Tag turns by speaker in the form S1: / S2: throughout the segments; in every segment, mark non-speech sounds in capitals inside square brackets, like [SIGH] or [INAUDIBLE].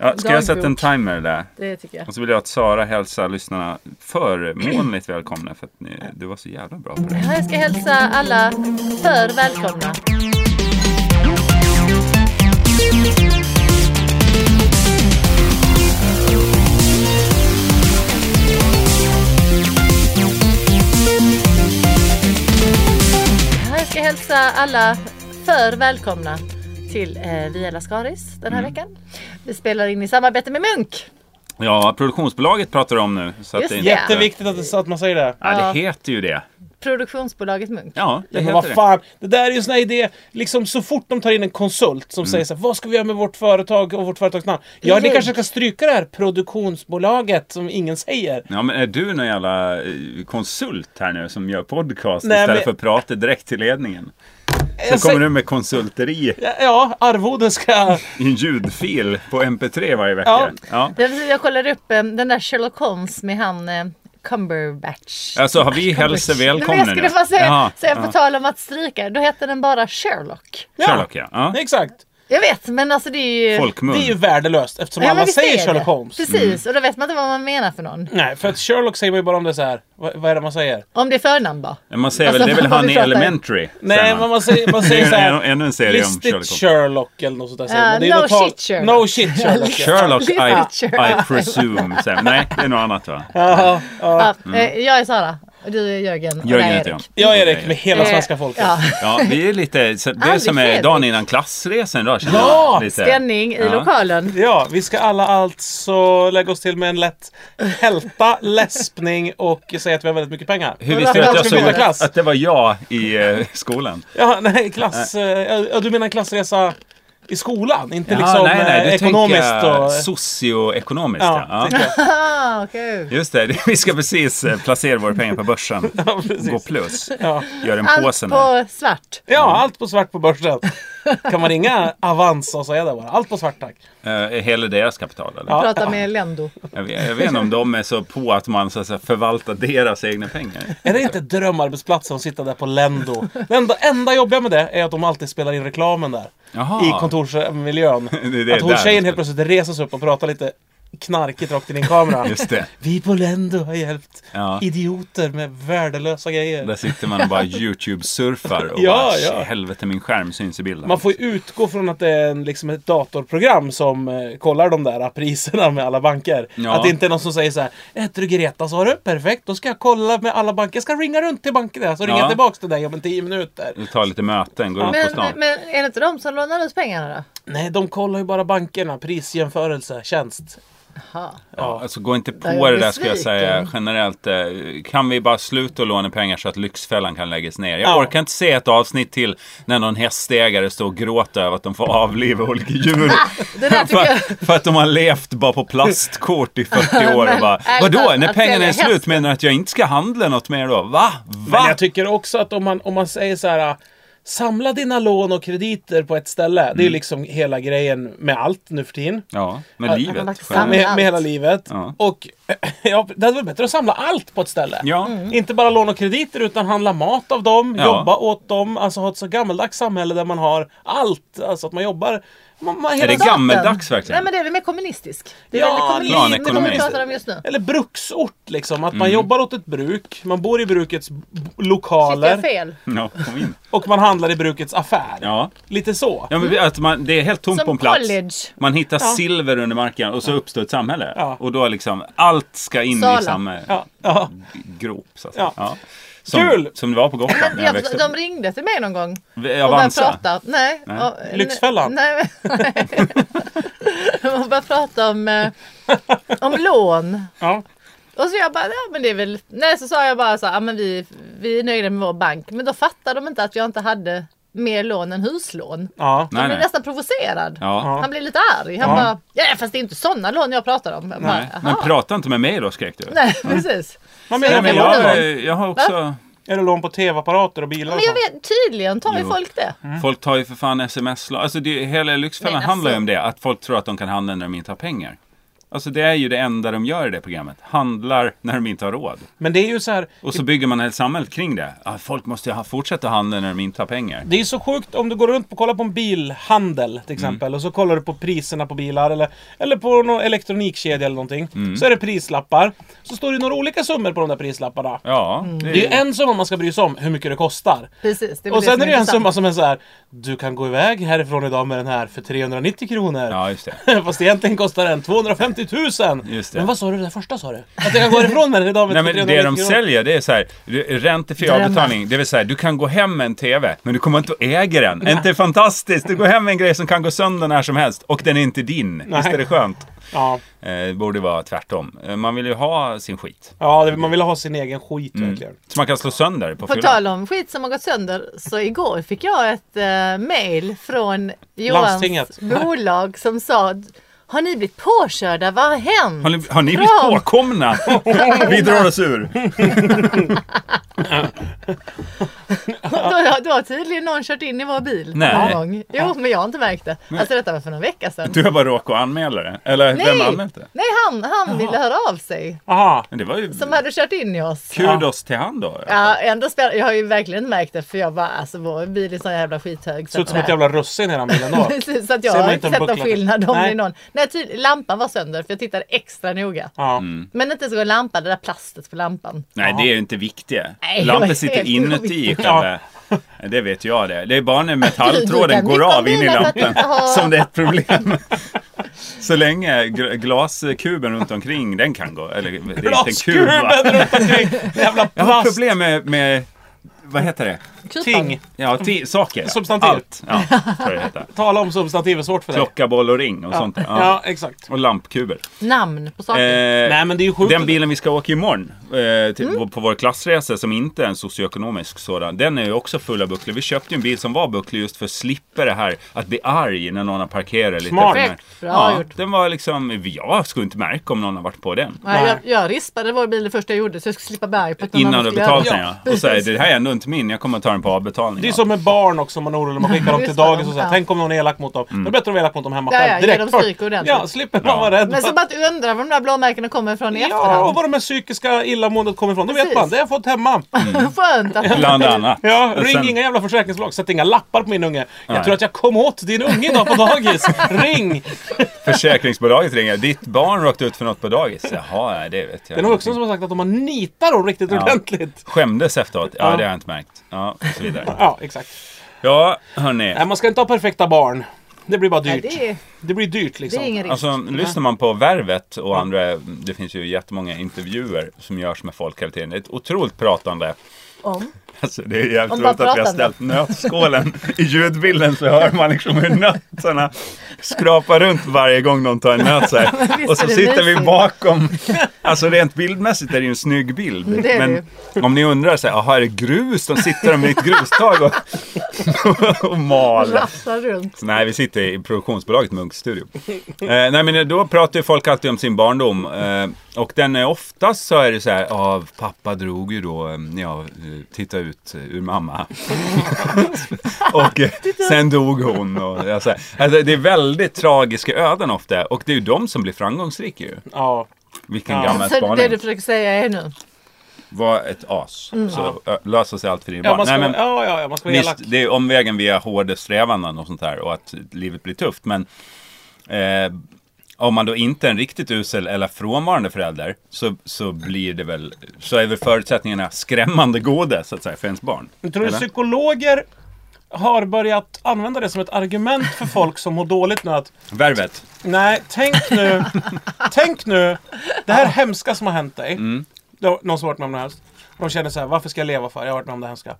S1: Ja, ska jag sätta en
S2: Dagbok.
S1: timer där?
S2: Det tycker jag.
S1: Och så vill jag att Sara hälsar lyssnarna förmånligt välkomna för att ni, du var så jävla bra på det.
S2: Ja, Jag ska hälsa alla för välkomna. Ja, Jag ska hälsa alla för välkomna till eh, Via Lascaris den här veckan. Vi spelar in i samarbete med Munk.
S1: Ja, produktionsbolaget pratar du om nu. Så att
S2: Just
S1: det
S2: det.
S1: inte,
S3: Jätteviktigt att, det- att man säger det.
S1: Ja, det heter ju det.
S2: Produktionsbolaget Munk.
S1: Ja, det
S3: Ja, men
S1: heter
S3: vad
S1: det.
S3: fan, det där är ju en sån här idé, liksom så fort de tar in en konsult
S1: Mm.
S3: som säger så här, vad ska vi göra med vårt företag och vårt företagsnamn? Ja, ni
S2: Ljud.
S3: kanske ska stryka det här produktionsbolaget som ingen säger.
S1: Ja, men är du någon jävla eh, konsult här nu som gör podcast
S3: Nej,
S1: istället
S3: men-
S1: för att prata direkt till ledningen? Så
S3: Jag
S1: kommer
S3: säger-
S1: du med konsulteri
S3: Ja,
S1: [LAUGHS]
S3: arvoden ska...
S1: i en ljudfil på MP3 varje
S3: Ja.
S1: vecka. Ja.
S2: Det var precis, Jag kollade upp eh, den där Sherlock Holmes med han eh, Cumberbatch.
S1: Alltså, har vi hälsa
S2: Nej, men
S1: välkomna
S2: jag
S1: nu?
S2: skulle bara säga,
S1: Jaha,
S2: säga på
S1: ja.
S2: tal om att stryka, då heter den bara Sherlock.
S1: Sherlock, ja. ja.
S3: Exakt.
S2: Jag vet, men alltså det är ju...
S1: Folkmun.
S3: Det är ju värdelöst eftersom
S2: Ja, men
S3: alla
S2: visst är
S3: säger
S2: det.
S3: Sherlock Holmes.
S1: Mm.
S2: Precis, och då vet man inte vad man menar för någon.
S3: Nej, för att Sherlock säger man ju bara om det så här. Vad, vad är det man säger?
S2: Om det är förnamn bara.
S1: Men Man säger
S2: Alltså,
S1: väl, det är väl
S2: vad
S1: han
S2: vi
S1: i
S2: pratar om.
S1: Elementary?
S3: Nej,
S1: säger
S3: men man säger,
S1: [LAUGHS]
S3: man
S1: Det
S3: säger
S1: är
S3: så
S1: ju
S3: här.
S1: en- ännu en serie om
S3: Listigt
S1: Sherlock. Holmes.
S3: Sherlock eller något sånt där. säger
S2: Ja,
S3: man. Det är
S2: Uh, no
S3: något tal-
S2: shit Sherlock.
S3: No shit Sherlock.
S1: [LAUGHS]
S3: ja.
S1: Sherlock, I,
S2: Literature.
S1: I presume. säger man. Nej, det är något annat va?
S3: Ja, ja.
S2: Ja, eh, Jag är Sara, och du är Jörgen. och
S1: Mm. Jörgen
S2: jag är
S1: heter jag.
S3: Jag är Erik med hela
S2: Eh,
S3: svenska folket.
S2: Ja.
S1: Ja, vi är lite, så det är
S2: Aldrig
S1: som är
S2: fel.
S1: dagen innan klassresan idag känner
S3: Ja,
S1: jag. Lite.
S2: Spänning i
S1: Ja. [LAUGHS]
S2: lokalen.
S3: Ja, vi ska alla alltså lägga oss till med en lätt hälta, läspning och säga att vi har väldigt mycket pengar.
S1: Hur visste du
S2: Varför
S1: att jag
S2: ska vi
S1: såg
S2: byta
S3: klass?
S1: att det var jag i eh, skolan?
S3: Ja, nej, klass... eh, Ja, du menar en klassresa i skolan? Inte
S1: Ja,
S3: liksom
S1: nej, nej,
S3: eh,
S1: du
S3: ekonomiskt
S1: tänker
S3: och... [LAUGHS]
S1: socioekonomiskt.
S3: Ja,
S1: Ja, ja.
S3: tänker jag.
S2: Ah, okej.
S1: Just det, [LAUGHS] vi ska precis eh, placera våra pengar på börsen.
S3: Ja,
S1: Gå Mm.
S3: precis.
S1: plus.
S3: Ja.
S1: Gör en
S2: Allt
S1: påse nu.
S2: på svart.
S3: ja, allt på svart på börsen. Kan man ringa Avanza och säga det bara? Allt på svart tack.
S1: Eh, Hela deras kapital eller?
S3: Ja.
S2: Prata med Lendo.
S1: Jag, vet, jag vet inte om de är så på att man så att säga, förvaltar deras egna pengar.
S3: Är det inte drömarbetsplatsen att sitta där på Lendo? Det enda, enda jobbiga med det är att de alltid spelar in reklamen där.
S1: Jaha.
S3: I kontorsmiljön.
S1: är [LAUGHS] det
S3: att hon
S1: där
S3: tjejen
S1: de
S3: helt plötsligt reser sig upp och pratar lite knarkigt rakt in i en kamera.
S1: [LAUGHS] Just det.
S3: Vi på Lendo har hjälpt
S1: Ja.
S3: idioter med värdelösa
S1: Där
S3: grejer.
S1: sitter man och
S2: [LAUGHS]
S1: bara YouTube-surfar och
S3: Ja,
S1: bara,
S3: ja.
S1: helvete min skärm syns i bilden.
S3: Man får ju utgå från att det är en, liksom ett datorprogram som eh, kollar de där priserna med alla banker.
S1: Ja.
S3: Att det inte är någon som säger så här. Äter du Greta sa du? Perfekt, då ska jag kolla med alla banker. Jag ska ringa runt till banken där. Så ringer
S1: Ja. Mm.
S3: jag tillbaks till dig om en tio minuter.
S1: Du tar lite möten, går ut på stan.
S2: Men, men är det inte de som lånar ut pengarna då?
S3: Nej, de kollar ju bara bankerna. Prisjämförelse, tjänst.
S2: Jaha.
S1: Ja, alltså gå inte på
S2: Där är jag
S1: det där ska jag
S2: besviken.
S1: säga generellt. eh, Kan vi bara sluta låna pengar så att Lyxfällan kan läggas ner? Jag
S3: Ja.
S1: orkar inte se ett avsnitt till när någon hästägare står och gråter över att de får avliva olika djur.
S2: [LAUGHS] Det där tycker jag...
S1: för, för att de har levt bara på plastkort i
S2: [LAUGHS]
S1: 40 år och bara,
S2: ärligt
S1: vadå,
S2: talat,
S1: när
S2: att
S1: pengarna
S2: sälja
S1: är slut
S2: hästen."
S1: menar du att jag inte ska handla något mer då? Va?
S3: Men
S1: Va?
S3: jag tycker också att om man, om man säger så här. Samla dina lån och krediter på ett ställe. Det är
S1: Mm.
S3: liksom hela grejen med allt nu för tiden.
S1: Ja, med
S3: Ja,
S1: livet.
S2: man har
S1: generellt.
S2: Med
S3: Med,
S2: allt.
S3: med hela livet.
S1: Ja.
S3: Och [CLEARS THROAT] ja, det hade varit bättre att samla allt på ett ställe.
S1: Ja.
S2: Mm.
S3: Inte bara lån och krediter utan handla mat av dem,
S1: Ja.
S3: jobba åt dem. Alltså ha ett så gammaldags samhälle där man har allt. Alltså att man jobbar. Man, man, hela
S1: Är det
S3: sam-
S1: gammeldags verkligen?
S2: Nej men det är väl mer kommunistisk. Det är
S3: Ja,
S2: väl kommunism, det
S1: planekonomi.
S2: är vi pratar om just nu.
S3: Eller bruksort liksom. Att man
S1: Mm.
S3: jobbar åt ett bruk. Man bor i brukets b- lokaler.
S2: Sitter jag fel?
S1: Ja, kom in.
S3: Och man handlar i brukets affär.
S1: Ja.
S3: Lite så.
S1: Ja, men vi- att man, det är helt tomt
S2: Som
S1: på en plats.
S2: college.
S1: Man hittar silver under marken och så uppstår ett samhälle.
S3: Ja.
S1: Och då är liksom allt ska in
S2: Sala.
S1: i samma
S3: Ja, ja.
S1: grop. Så att säga.
S3: Ja.
S1: Som,
S3: Kul!
S1: Som det var på Gotland när jag
S2: Jag,
S1: växte
S2: de
S1: upp.
S2: ringde till mig någon gång.
S1: Vi-
S2: Och började
S1: Avanza.
S2: prata. Nej.
S1: Nej.
S2: ja, eh,
S3: Lyxfällan.
S2: Nej. [LAUGHS] nej. De började prata om, eh, om lån.
S3: ja.
S2: Och så jag bara, ja men det är väl. Nej så sa jag bara så här, ja men vi, vi är nöjda med vår bank. Men då fattade de inte att jag inte hade mer lån än huslån.
S3: ja.
S1: Nej,
S2: Han blev
S1: nej.
S2: nästan provocerad.
S1: Ja.
S2: Han blev lite arg. Han bara, ja fast det är inte sådana lån jag pratar om. Jag bara,
S1: Nej. Men
S2: "Jaha."
S1: prata inte med mig då skrek du.
S2: [LAUGHS] Nej precis.
S3: Man
S1: Nej,
S3: menar
S1: men
S3: med
S1: jag,
S3: lån?
S1: eh, jag har också...
S3: Är det lån på tv-apparater och bilar
S2: Men
S3: och
S2: jag
S3: sånt?
S2: vet, tydligen tar ju
S1: Jo.
S2: folk det.
S3: Mm.
S1: Folk tar ju för fan sms-lån. Alltså det, hela Lyxfällan
S2: Men
S1: handlar ju
S2: alltså-
S1: om det. Att folk tror att de kan handla när de inte har pengar. Alltså det är ju det enda de gör i det programmet. Handlar när de inte har råd.
S3: Men det är ju så här.
S1: Och så bygger man hela samhället kring det. Ah, folk måste ju ha- fortsätta handla när de inte har pengar.
S3: Det är ju så sjukt om du går runt och kollar på en bilhandel
S1: Mm.
S3: till exempel och så kollar du på priserna på bilar eller, eller på någon elektronikkedja eller någonting.
S1: Mm.
S3: Så är det prislappar. Så står det några olika summor på de där prislapparna.
S1: Ja,
S3: Det är ju en summa man ska bry sig om, hur mycket det kostar.
S2: Precis, det är väl
S3: Och
S2: det
S3: sen
S2: som
S3: är det ju en
S2: intressant.
S3: summa som är så här. Du kan gå iväg härifrån idag med den här för 390 kronor.
S1: Ja, just det.
S3: [LAUGHS] Fast egentligen kostar den 250 000!
S1: Just det.
S3: Men vad sa du det där första sa du? Att jag kan gå härifrån med den idag med
S1: Nej, men det
S3: 390
S1: de
S3: kronor.
S1: säljer det är så här, r- räntefri
S2: Drömmar.
S1: avbetalning. Det vill säga, du kan gå hem med en TV, men du kommer inte att äga den. Är inte det fantastiskt? Du går hem med en grej som kan gå sönder när som helst och den är inte din. Visst är det skönt?
S3: Ja,
S1: Eh, Det borde vara tvärtom. Eh, Man vill ju ha sin skit.
S3: ja det, man vill ha sin egen skit
S1: Mm.
S3: verkligen.
S1: Så man kan slå sönder på
S2: På
S1: fyllan.
S2: tal om skit som har gått sönder, så igår fick jag ett eh, mail från Johans
S3: Landstinget.
S2: bolag som sa Har ni blivit påkörda? Vad har hänt?
S1: Har ni, har ni blivit
S2: Kram.
S1: påkomna? Vi drar oss ur.
S2: [LAUGHS] Då, då har tydligen någon kört in i vår bil
S1: Nej.
S2: någon gång. Jo, men jag har inte märkt det. Alltså detta var för någon vecka sedan.
S1: Du har bara råkat anmäla det. Eller vem har anmält det?
S2: Nej, han, han ville höra av sig.
S3: Aha.
S1: Men det var ju
S2: Som hade kört in i oss.
S1: kudos till han då.
S2: Ja, ändå spel- jag har ju verkligen märkt det för jag bara, alltså vår bil är sån jävla skithög.
S3: Ser ut som
S2: att
S3: ett jävla russin i den bilen
S2: [LAUGHS]
S3: då.
S2: Precis, så att
S3: Ser
S2: jag
S3: man
S2: har inte
S3: inte en
S2: sett någon
S3: buckla?
S2: skillnad om
S3: Nej.
S2: det är någon. Nej, tydlig, lampan var sönder för jag tittade extra noga.
S3: Ja.
S2: Men inte så går lampan, det där plastet på lampan.
S1: Nej, det är ju inte viktigt.
S2: Nej, det var
S1: Lampan sitter
S2: helt
S1: inuti i
S2: oviktigt.
S1: själva... Det vet jag det. Det är bara när
S2: Du
S1: metalltråden
S2: kan
S1: går
S2: byta
S1: av in i
S2: bilar för att
S1: lampan
S2: inte ha-
S1: som det är ett problem. [LAUGHS] Så länge gr- glaskuben runt omkring den kan gå. Eller det är inte en kub va?
S3: Glaskuben runt omkring! Jävla
S1: Jag har
S3: plast!
S1: problem med, med vad heter det?
S3: Ting!
S1: Ja, ti- saker.
S3: Substantiv.
S1: Allt. Ja, tror jag det heter.
S3: Tala om substantiv är svårt för dig.
S1: Klocka, boll och ring och sånt. där.
S3: Ja.
S1: Ja.
S3: exakt.
S1: Och lampkuber.
S2: Namn på saker.
S1: Eh,
S3: Nej men det är ju sjukt.
S1: den bilen vi ska åka imorgon eh, till,
S3: Mm.
S1: på vår klassresa som inte är en socioekonomisk sådan. Den är ju också full av bucklor. Vi köpte ju en bil som var bucklig just för att slippa det här att bli arg när någon har parkerat lite.
S3: Smart.
S1: för nära.
S2: Perfekt. Bra
S1: ja,
S2: gjort.
S1: Den var liksom, jag skulle inte märka om någon har varit på den.
S2: Nej, jag, jag rispade vår bil det första jag gjorde så jag skulle slippa berg på att någon
S1: Innan
S2: annan
S1: du
S2: skulle
S1: betalat
S2: göra
S1: den
S2: det.
S1: ja. Och säger det här är ändå inte min, jag kommer att ta den på avbetalning.
S3: Det är
S1: Ja.
S3: som med barn också, man är orolig man skickar dem till
S2: Just det,
S3: dagis och så här.
S2: ja.
S3: Tänk om någon är elak mot dem.
S1: Mm.
S3: Då är det bättre att vara elak mot dem hemma
S2: Ja,
S3: själv
S2: ja, ge dem
S3: först.
S2: stryk ordentligt.
S3: Ja, slipper man vara rädd.
S2: Men så bara att undra var de där blåmärkena kommer från i
S3: Ja,
S2: [LAUGHS]
S3: och
S2: efterhand.
S3: var de här psykiska illamåendet kommer ifrån. Då vet
S2: Precis.
S3: man. Det har jag
S1: [LAUGHS]
S3: fått hemma.
S2: Skönt att
S1: Bland annat.
S3: Ja,
S1: Och
S3: ring
S1: sen-
S3: inga jävla försäkringsbolag. Sätt inga lappar på min unge. Jag
S1: Nej.
S3: tror att jag kom åt din unge idag på
S1: [LAUGHS]
S3: dagis. ring!
S1: Försäkringsbolaget ringer. Ditt barn råkade ut för något på dagis. Jaha, nej, det vet jag
S3: Det är någon vuxen som har sagt att om man nitar dem riktigt
S1: Ja.
S3: ordentligt.
S1: Skämdes efteråt. Ja,
S3: Ja.
S1: det har jag inte märkt. Ja, och så vidare.
S3: Ja, exakt.
S1: Ja, hörni.
S3: Nej, man ska inte ha perfekta barn. Det blir
S2: [LAUGHS]
S3: bara
S2: Nej,
S3: dyrt.
S2: det, är,
S3: Det blir dyrt
S2: det
S3: liksom.
S2: är ingen risk.
S1: Alltså, lyssnar man på Värvet och andra, det finns ju jättemånga intervjuer som görs med folk hela tiden. Det är ett otroligt pratande.
S2: Om.
S1: Alltså, det är jävligt
S2: Om bara
S1: roligt att vi har
S2: pratande.
S1: ställt nötskålen i ljudbilden så hör man liksom hur nötterna skrapar runt varje gång någon tar en nöt så här.
S2: [LAUGHS] visst
S1: Och så
S2: är det
S1: sitter vi
S2: mysigt.
S1: bakom. Alltså rent bildmässigt är det ju en snygg bild.
S2: Det är
S1: Men om ni undrar så här, jaha är det grus? De sitter med ett grustag och, och [LAUGHS]
S3: alltså,
S1: maler.
S2: Rafsar runt.
S1: Så Nej, vi sitter i produktionsbolaget Munk Studio. Eh, nej, men då pratar ju folk alltid om sin barndom. Eh, och den är oftast så är det så här, ja, pappa drog ju då, eh, när jag eh, tittade ut eh, ur mamma. [LAUGHS] och eh, sen dog hon. Och, ja, så här. alltså, det är väldigt tragiska öden ofta. Och det är ju de som blir framgångsrika ju.
S3: Ja.
S1: Vilken
S3: Ja.
S1: gammal
S2: Så Alltså, det Mm.
S1: spaning.
S2: du försöker säga är nu.
S1: Var ett as. Så ö, löser sig allt för din
S3: Ja,
S1: barn.
S3: man ska,
S1: Nej, men-
S3: ja, ja, ja, man ska vara elak.
S1: Visst, det är omvägen via hårda strävanden och sånt där och att livet blir tufft. Men eh, om man då inte är en riktigt usel eller frånvarande förälder så, så blir det väl, så är väl förutsättningarna skrämmande goda så att säga för ens barn.
S3: Men tror du
S1: Eller?
S3: psykologer har börjat använda det som ett argument för folk som mår dåligt nu att
S1: Värvet.
S3: Nej, tänk nu. tänk nu. Det här hemska som har hänt dig.
S1: Mm.
S3: Det har någon som har varit med om det helst. De känner så här, varför ska jag leva för? Jag har varit med om det hemska.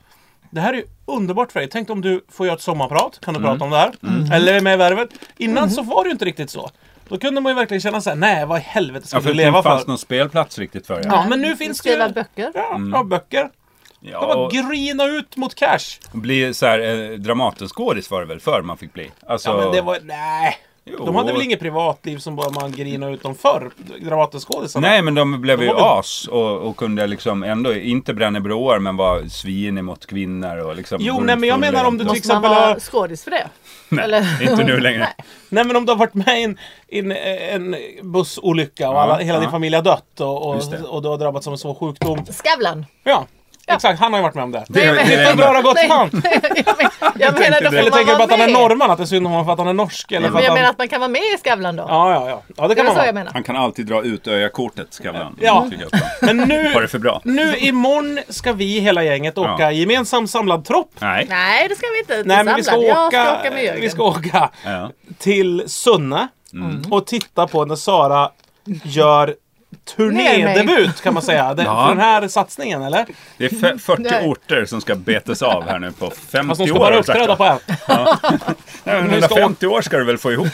S3: Det här är ju underbart för dig. Tänk om du får göra ett sommarprat. Kan du
S1: Mm.
S3: prata om det här? Eller är med i Värvet. Innan så var det ju inte riktigt så. Då kunde man ju verkligen känna så här, nej vad i helvete ska
S1: Ja, för
S3: du
S1: det
S3: leva
S1: inte
S3: för?
S1: fanns någon spelplats riktigt för
S3: Ja,
S1: ja.
S3: men nu finns det ju...
S2: Skriva böcker.
S3: Ja, ja, böcker. De
S1: Mm. ja
S3: bara
S1: och
S3: grina ut mot cash.
S1: bli så här eh, Dramatenskådis var det väl förr man fick bli. Alltså,
S3: Ja, men det var... Nej.
S1: Jo.
S3: De hade väl inget privatliv som bara man grinade ut dem förr? Dramatenskådisarna?
S1: Nej, men de blev
S3: De
S1: ju
S3: var väl-
S1: as och, och kunde liksom ändå inte bränna broar men var svin mot kvinnor och liksom...
S3: Jo,
S1: gå
S3: nej,
S1: runt
S3: men jag
S1: fulla
S3: menar om du
S1: jämt.
S3: till
S2: Måste man
S3: exempel
S2: vara
S3: har...
S2: skådis för det?
S1: Nej,
S2: eller-
S1: inte nu längre.
S3: Nej, men om du har varit med i en, i en, en bussolycka och
S1: Ja,
S3: alla, hela din
S1: ja.
S3: familj har dött och,
S1: Just det.
S3: och, och du har drabbats av en svår sjukdom. [LAUGHS]
S2: Skavlan.
S3: Ja, exakt. Han har ju varit med om det.
S1: Det, är-
S2: Nej, men-
S1: det, är det
S3: Hur bra det
S1: enda.
S3: har gått
S2: Nej,
S3: för han!
S2: jag menar
S1: direkt.
S2: då får man
S3: Eller tänker du bara
S2: vara
S3: att han
S2: med.
S3: är norrman? Att det är synd om honom för att han är norsk? Eller för
S2: Men jag
S3: att
S2: menar
S3: han...
S2: att man kan vara med i Skavlan då.
S3: Ja, ja, ja. Ja, det
S2: det
S3: kan
S2: var
S3: man
S2: så jag
S3: vara.
S2: menar.
S1: Han kan alltid dra ut öjakortet, Skavlan.
S3: Ja.
S1: Tycker jag.
S3: Men
S1: Var
S3: nu,
S1: det för bra?
S3: nu imorgon ska vi hela gänget
S1: Ja.
S3: åka gemensam samlad tropp.
S1: Nej.
S2: Nej, det ska vi inte.
S3: Nej, men vi ska
S2: jag
S3: åka,
S2: ska åka med Jörgen.
S3: vi ska åka
S1: Ja.
S3: till Sunne
S1: Mm.
S3: och titta på när Sara gör turnédebut kan man säga. Det,
S1: Ja.
S3: För den här satsningen eller?
S1: Det är fe- 40
S2: Nej.
S1: orter som ska betas av här nu på 50
S3: Fast de ska
S1: år.
S3: bara
S1: har du sagt.
S3: uppträda på en.
S1: Nej, men
S3: Nu ska
S1: 150 år ska du väl få ihop?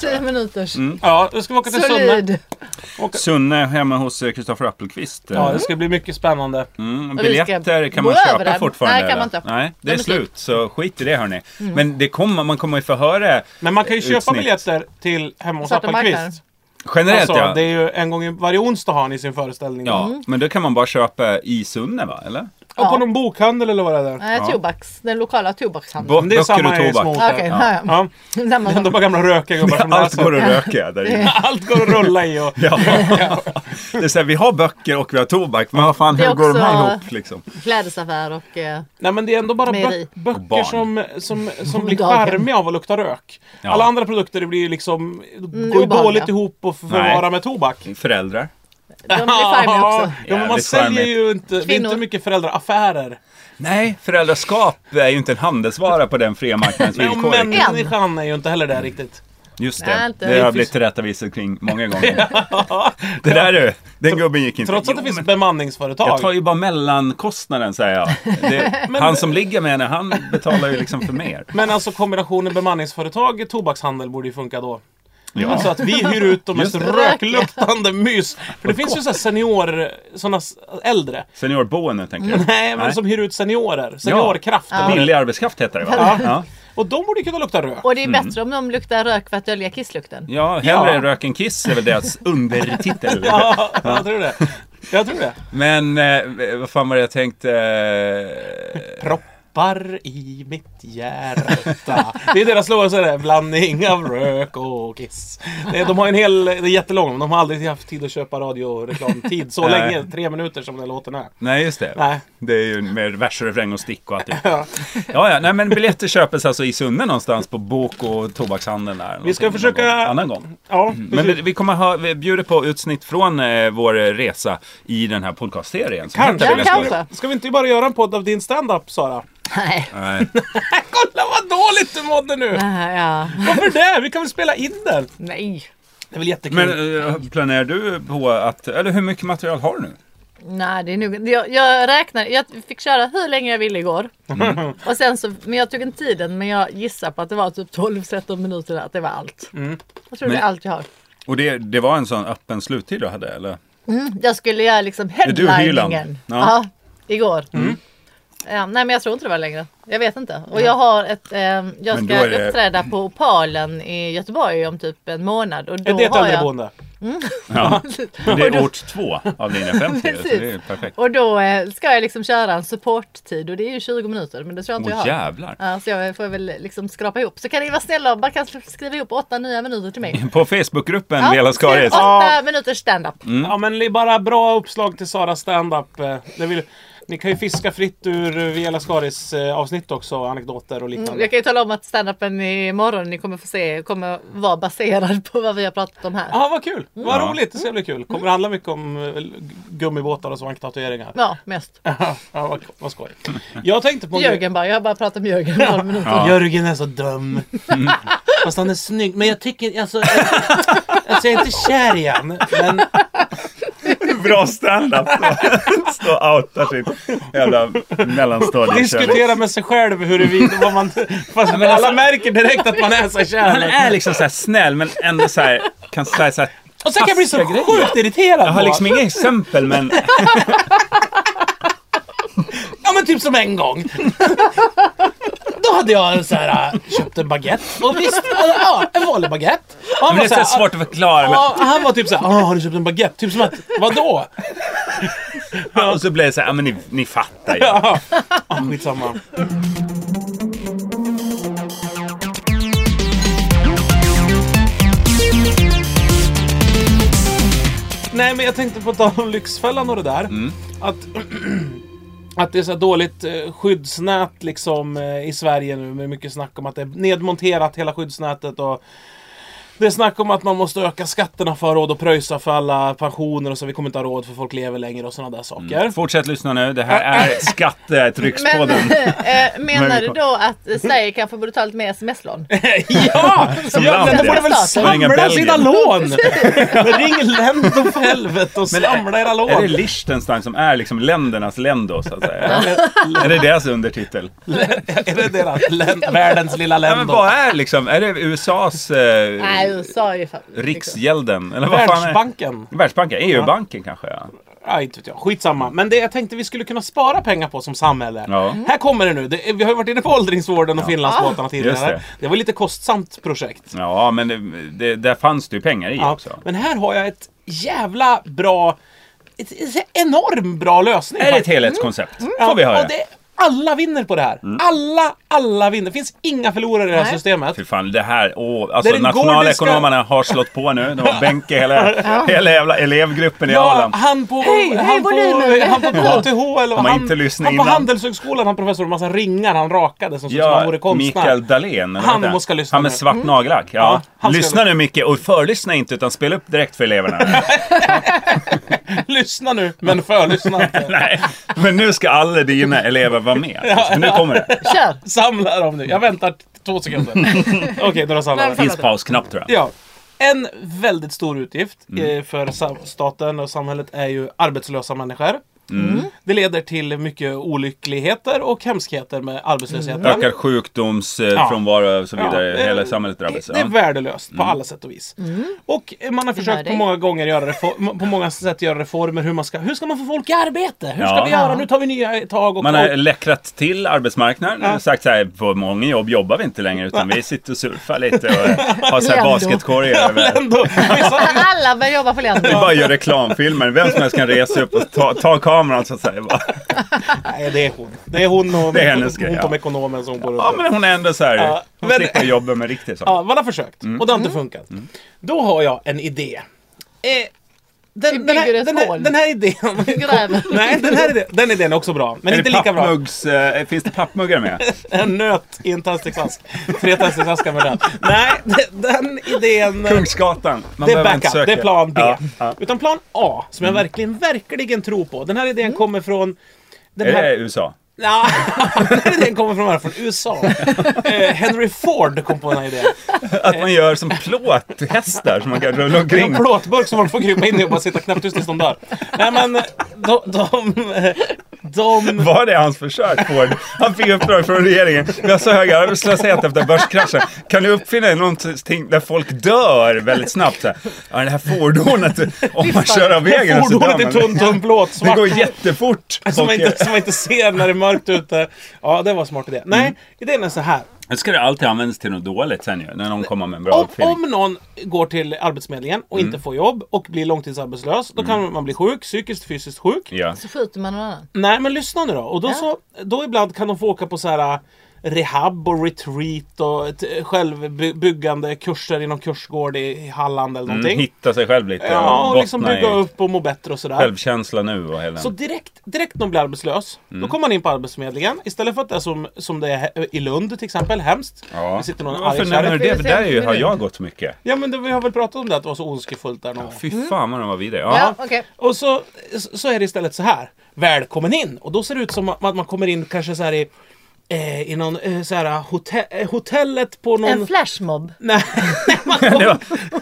S2: Tio minuters.
S3: Ja, då ska Mm. vi åka till Sunne.
S2: Solid.
S1: Sunne hemma hos eh, Kristoffer Appelqvist. eh,
S3: Ja, det ska bli mycket spännande.
S1: Mm,
S2: Och vi ska
S1: biljetter kan
S2: gå
S1: man
S2: över
S1: köpa
S2: den.
S1: fortfarande.
S2: Nej, kan man
S1: eller?
S2: inte.
S1: Nej, det är
S2: Nej, men
S1: slut. Så skit i det hörni. Men det kommer, man kommer ju få höra
S3: Men man kan ju köpa
S1: Utsnitt.
S3: biljetter till hemma hos
S2: Svarta marknaden.
S3: Appelqvist.
S1: generellt
S3: Alltså,
S1: ja.
S3: det är ju en gång i- varje onsdag har han i sin föreställning.
S1: ja. Men då kan man bara köpa i Sunne va? Eller?
S3: Och på
S2: Ja.
S3: någon bokhandel eller vad det är.
S2: Nej,
S1: Ja.
S2: tobaks. Den lokala tobakshandeln.
S1: Bo-
S3: Men det är
S1: Böcker
S3: samma
S1: och
S3: i
S1: tobak.
S3: små
S2: Okej,
S3: orter.
S2: okay,
S1: Ja.
S2: ja. ja.
S3: Ja.
S2: Samma
S3: Det är
S2: sak.
S3: ändå bara gamla rökargubbar som
S1: Allt går
S3: läser.
S1: att röka där inne.
S3: [LAUGHS] Allt går att rulla i och...
S1: [LAUGHS] Ja. Det är så här, vi har böcker och vi har tobak, men vad fan,
S2: Det är
S1: hur går de här
S2: också-
S1: ihop liksom?
S2: Klädesaffär och... Eh,
S3: Nej men det är ändå bara bö
S2: Mejeri.
S1: Och
S3: böcker
S1: barn.
S3: som, som,
S2: [LAUGHS]
S3: som blir
S2: Daghem.
S3: charmiga av att lukta rök.
S1: Ja.
S3: Alla andra produkter det blir ju liksom, går ju
S2: Mm, obehagliga.
S3: dåligt ihop och förvara
S1: Nej.
S3: med tobak.
S1: Föräldrar.
S2: de blir charmiga också.
S3: [LAUGHS] Ja, men man
S1: Jävligt
S3: säljer
S1: charmigt.
S3: ju inte, det är inte
S2: Kvinnor.
S3: mycket föräldraaffärer.
S1: Nej, föräldraskap är ju inte en handelsvara på den fria marknadens
S3: Nej, och
S1: villkor.
S3: människan är ju inte heller där riktigt.
S1: Just
S2: Nej,
S1: det,
S2: inte.
S1: det har jag blivit tillrättavisad kring många
S3: [LAUGHS]
S1: gånger. Det där du, den gubben gick inte.
S3: Trots att det
S1: Jo,
S3: finns
S1: men Jag
S3: bemanningsföretag.
S1: tar ju bara mellankostnaden säger jag. Det,
S3: [LAUGHS] Men-
S1: han som ligger med henne, han betalar ju liksom för mer.
S3: Men alltså kombinationen bemanningsföretag tobakshandel borde ju funka då.
S1: Ja.
S3: Alltså att vi hyr ut de mest
S1: Just
S3: rökluktande mys. För det finns ju sådana senior, sådana äldre.
S1: Seniorboende tänker jag.
S3: [LAUGHS] Nej, men
S1: Nej.
S3: som hyr ut seniorer. Seniorkraft.
S2: Ja.
S1: Billig arbetskraft heter det va?
S3: Ja.
S1: Ja,
S3: Och de borde ju kunna lukta rök.
S2: Och det är bättre om de luktar rök för att dölja kisslukten.
S1: ja hellre
S3: Ja.
S1: rök än kiss är väl deras
S2: [LAUGHS]
S1: undertitel.
S3: Ja, [LAUGHS] jag tror det. Jag tror det.
S1: Men eh, vad fan var det jag tänkte? Eh,
S3: Proppar i mitt hjärta. Det är deras låt, så är det. Blandning av rök och kiss. Det- De har en hel, det är jättelång, men de har aldrig haft tid att köpa radioreklamtid så
S1: Nej.
S3: länge. Tre minuter som den här låten är.
S1: Nej, just det.
S3: Nej.
S1: Det är ju mer vers och refräng och stick och allt det. Ja, ja. Nej, men biljetter köpes alltså i Sunne någonstans på bok och tobakshandeln där.
S3: Vi ska
S1: Någonting
S3: försöka-
S1: någon gång- Annan gång.
S3: Ja,
S1: Mm, Men
S3: precis.
S1: vi, vi kommer ha, vi bjuder på utsnitt från eh, vår resa i den här podcastserien. som
S3: Kanske.
S1: heter Vilja
S2: Kanske.
S1: Skoja.
S3: Ska vi inte bara göra en podd av din stand-up Sara?
S2: Nej.
S1: Nej.
S3: Kolla vad dåligt du mådde nu!
S2: Nej, Ja.
S3: Varför det? Vi kan väl spela in den?
S2: Nej.
S3: Det är väl jättekul.
S1: Men eh, planerar du på att, eller hur mycket material har du nu?
S2: Nej, det är nog... Jag, jag räknar. Jag fick köra hur länge jag ville
S3: [LAUGHS]
S2: igår. Och sen så, men jag tog inte tiden, men jag gissar på att det var typ 12-13 minuter, att det var allt.
S3: Mm.
S2: Jag tror det
S1: Men-
S2: är allt jag har.
S1: Och det, det var en sån öppen sluttid du hade eller?
S2: Mm, jag skulle göra liksom
S1: du Hyland?
S2: headliningen.
S1: Ja.
S2: Ja. igår.
S3: Mm.
S2: Ja, nej men jag tror inte det var längre. Jag vet inte. Och jag har ett, eh, jag
S1: Men då
S2: ska
S1: är det-
S2: uppträda på Opalen i Göteborg om typ en månad. Och då
S3: är det ett
S2: har jag...
S3: äldreboende?
S1: Ja. Det är ort två av linje 50, så det är
S2: Precis.
S1: perfekt.
S2: Och då eh, ska jag liksom köra en supporttid och det är ju 20 minuter. Men det tror jag inte
S1: Åh
S2: jag har.
S1: jävlar.
S2: Ja, så jag får väl liksom skrapa ihop. Så kan ni vara snälla och bara kan skriva ihop åtta nya minuter till mig.
S1: På Facebookgruppen Vela
S2: skriv
S1: Skaris.
S2: åtta minuters standup.
S3: Ja men det är bara bra uppslag till Saras stand-up. Eh, det vill- Ni kan ju fiska fritt ur eh, Viela Skaris eh, avsnitt också, anekdoter och liknande.
S2: Mm, Jag kan ju tala om att standupen imorgon ni kommer få se kommer vara baserad på vad vi har pratat om här.
S3: Ja, vad kul! Vad
S1: Ja.
S3: roligt! Det ska bli kul. Kommer det handla mycket om eh, gummibåtar och svanktatueringar?
S2: Ja, mest.
S3: [LAUGHS] ja, vad, vad skoj. Jag tänkte på...
S2: Jörgen bara, jag har bara pratat om Jörgen i
S3: Ja.
S2: 12 minuter.
S1: Ja.
S3: Jörgen är
S2: [LAUGHS]
S3: så dum. Fast han är snygg. Men jag tycker... Alltså, alltså jag är inte kär i han. Men
S1: Bra standup. [LAUGHS] Stå och outa sitt jävla mellanstadiekärlek.
S3: diskutera med sig själv huruvida vad man... Fast alla märker direkt att man är så
S1: Han
S3: kär.
S1: är liksom så här snäll men ändå så här, kan säga så här.
S3: Och sen kan jag bli så
S1: taskiga grejer.
S3: sjukt irriterad
S1: Jag har
S3: på.
S1: liksom inga exempel men
S3: Ja men typ som en gång. [LAUGHS] då hade jag så här, äh, köpt en baguette. Och visst, äh, ja, en vanlig baguette. Och han
S1: Men det
S3: var
S1: är
S3: så
S1: så
S3: här,
S1: här
S3: äh,
S1: svårt att förklara. Men,
S3: ja, han var typ såhär, ah, har du köpt en baguette? Typ som att, vadå?
S1: och så blir det så här, ja men ni, ni fattar ju.
S3: [LAUGHS] Ja, ah, skitsamma. Nej, men jag tänkte på tal om Lyxfällan och det där. Att, [CLEARS THROAT] att det är så här dåligt eh, skyddsnät liksom eh, i Sverige nu med mycket snack om att det är nedmonterat hela skyddsnätet och det är snack om att man måste öka skatterna för råd och pröjsa för alla pensioner och så. Vi kommer inte ha råd för folk lever längre och sådana där saker.
S1: Fortsätt lyssna nu. Det här är
S2: Men,
S1: skattetryckspodden.
S2: eh, menar du
S1: Men-
S2: då att Sverige kanske borde ta lite mer sms-lån?
S3: Ja!
S1: Som
S3: ja,
S1: land,
S3: men de
S2: ja.
S3: borde väl
S2: Staten.
S1: Ringa
S3: samla
S1: Belgien. [LAUGHS]
S3: sina lån! Ring länder för helvete och
S1: Men är-
S3: samla era
S1: Är det
S3: lån!
S1: Liechtenstein som är liksom ländernas länd då så att säga? är det deras undertitel?
S3: Är det [LAUGHS] deras län- världens lilla
S1: Ja, men
S3: länder?
S1: vad är liksom, är det USAs eh,
S2: Nej, USA är ju fan...
S1: riksgälden? Eller vad fan är
S3: Världsbanken?
S1: Världsbanken? EU-banken kanske? Ja.
S3: Ja, inte vet jag. Skitsamma. Men det jag tänkte vi skulle kunna spara pengar på som samhälle.
S1: Ja. Ah.
S3: Här kommer det nu. Det, vi har ju varit inne på åldringsvården och Finlandsbåtarna tidigare.
S1: Just
S3: Det.
S1: det.
S3: var lite kostsamt projekt.
S1: Ja, men det, det, där fanns det ju pengar i
S3: Ja,
S1: också.
S3: Men här har jag ett jävla bra... Ett, ett enormt bra lösning.
S1: Är det ett
S3: faktiskt.
S1: helhetskoncept?
S3: Mm. Ja,
S1: Får vi höra. Mm.
S3: och det, alla vinner på det här. Alla, alla vinner. Det finns inga förlorare i det här
S2: Nej.
S3: systemet.
S1: Fy fan, det här, åh, alltså
S3: Det är den
S1: nationalekonomerna har slått på nu. De
S3: [LAUGHS]
S1: har Benke, hela, hela jävla elevgruppen i
S3: Ja,
S1: Arland.
S3: han på,
S2: Hej,
S3: han,
S2: hej,
S3: på,
S2: volymen.
S3: han
S1: [LAUGHS]
S3: på KTH eller
S1: Om man
S3: han,
S1: inte lyssnar
S3: han på
S1: innan.
S3: Handelshögskolan, han professor med massa ringar han rakade som såg ut som han
S1: Ja,
S3: vore konstnär.
S1: Mikael Dahlén. eller
S3: Han
S1: vad heter
S3: måste lyssna
S1: Han med
S3: nu. Mm.
S1: svart nagellack. Ja.
S3: Ja, han ska-
S1: lyssna nu Micke och förlyssna inte utan spela upp direkt för
S3: [LAUGHS]
S1: eleverna.
S3: [LAUGHS] Lyssna nu, men
S1: [LAUGHS]
S3: förlyssna inte.
S1: Nej, men nu ska alla dina elever vara med. Alltså, nu kommer det.
S2: Kör!
S3: Samla dem nu. Jag väntar t-
S1: [LAUGHS]
S3: två sekunder. Okej, då har jag samlat
S2: Men
S1: Det
S3: dem.
S1: finns pausknapp tror jag.
S3: Ja. En väldigt stor utgift
S1: Mm.
S3: eh, för sam- staten och samhället är ju arbetslösa människor.
S1: Mm.
S3: Det leder till mycket olyckligheter och hemskheter med arbetslösheten.
S1: Ökad sjukdomsfrånvaro och så vidare.
S3: Ja, eh,
S1: Hela samhället drabbas.
S3: Det, det är
S1: Ja. Mm.
S3: värdelöst på alla sätt och vis. Och eh, man har
S2: hör
S3: försökt på
S2: dig.
S3: många, gånger göra reform, på många sätt göra reformer. Hur, man ska, hur ska man få folk i arbete? Hur ska
S1: Ja.
S3: vi göra? Nu tar vi nya tag. Och,
S1: Man
S3: och, [LAUGHS]
S1: har läckrat till arbetsmarknaden. och Sagt så här, på många jobb jobbar vi inte längre utan vi sitter och surfar lite och har så här
S2: Ländo.
S1: basketkorgar. över.
S3: ändå, vissa,
S2: Alla börjar jobba på
S1: Vi
S2: länder.
S1: bara gör reklamfilmer. Vem som helst kan resa sig upp och ta, ta kameran så att säga. Bara.
S3: nej, det är hon. Det är hon och
S1: Det är hennes grej,
S3: hon
S1: ja.
S3: på ekonomen som går
S1: Ja
S3: runt.
S1: men hon är ändå så här.
S3: Ja,
S1: Hon
S3: men-
S1: slipper jobba med riktigt sånt.
S3: Ja, man har försökt.
S1: Mm.
S3: Och det har inte funkat. Då har jag en idé. Eh,
S2: Vi
S3: den, den,
S2: bygger
S3: här,
S2: ett
S3: den, här,
S2: hål.
S3: den
S2: [LAUGHS]
S3: här idén...
S2: Gräver.
S3: Nej, den här idén, den idén är också bra. Men
S1: Är
S3: inte
S1: det
S3: lika bra.
S1: pappmuggs, eh, finns det pappmuggar
S3: [LAUGHS]
S1: med?
S3: En nöt i en tändsticksask. Tre tändsticksaskar med nöt. Nej, de- den idén...
S1: Kungsgatan. Man
S3: Det är
S1: behöver inte
S3: backup,
S1: söka.
S3: det är plan B.
S1: Ja, ja. Mm.
S3: Utan plan A, som jag verkligen, verkligen tror på. Den här
S2: Mm.
S3: idén kommer från... Den
S1: Är
S3: här,
S1: det USA?
S3: Ja, [LAUGHS] den här idén kommer från, från
S1: [LAUGHS]
S3: USA. Eh, Henry Ford kom på den här idén.
S1: Att man gör som plåthästar som man kan rulla
S3: En
S1: omkring.
S3: plåtburk som man får krypa in i och bara sitta knäpptyst tills de dör. Nej men, de... de, de
S1: Var det hans försök Ford? Han fick uppdrag från regeringen. Vi har så hög arbetslöshet efter börskraschen. Kan du uppfinna någonting där folk dör väldigt snabbt? Så här, ja, det här fordonet, om man kör av vägen så dör
S3: fordonet är
S1: man.
S3: tunt och en plåt
S1: Det
S3: svart.
S1: går jättefort.
S3: [LAUGHS] Som
S1: Och, eh,
S3: man, inte, som man inte ser när det är mörkt ute. Ja, det var en smart idé.
S1: Mm.
S3: Nej, idén är så här.
S1: eh, Ska det alltid användas till något dåligt sen ju? När någon kommer med en bra
S3: Om,
S1: uppfinning.
S3: om någon går till Arbetsförmedlingen och
S1: Mm.
S3: inte får jobb och blir långtidsarbetslös, då kan man bli sjuk, psykiskt fysiskt sjuk.
S1: Ja. Mm,
S2: Så skjuter man någon annan.
S3: Nej, men lyssna nu då. Och då, så, då ibland kan de få åka på så här äh, rehab och retreat och ett självbyggande kurser i någon kursgård i i Halland eller
S1: Mm,
S3: någonting.
S1: hitta sig själv lite.
S3: Ja, och
S1: bottna
S3: liksom bygga
S1: i
S3: upp och må bättre och sådär.
S1: Självkänsla nu och hela...
S3: Så direkt, direkt när de blir arbetslös,
S1: Mm.
S3: då kommer man in på Arbetsförmedlingen. Istället för att det är som, som det är he- i Lund till exempel, hemskt.
S1: Ja.
S3: Det sitter någon
S1: Varför
S3: arg
S1: nämner du
S3: kärring.
S1: det? För där är ju, har jag gått mycket.
S3: Ja men det, vi har väl pratat om det att det var så ondskefullt där någon gång.
S1: Fy fan vad de var vidare.
S2: Ja,
S1: Ja.
S2: okej.
S3: Och så, så är det istället så här. Välkommen in! Och då ser det ut som att man kommer in kanske så här i, eh, i någon, eh, så här, hotell, eh, hotellet på någon...
S2: En flashmob.
S3: Nej, man kommer-
S1: Det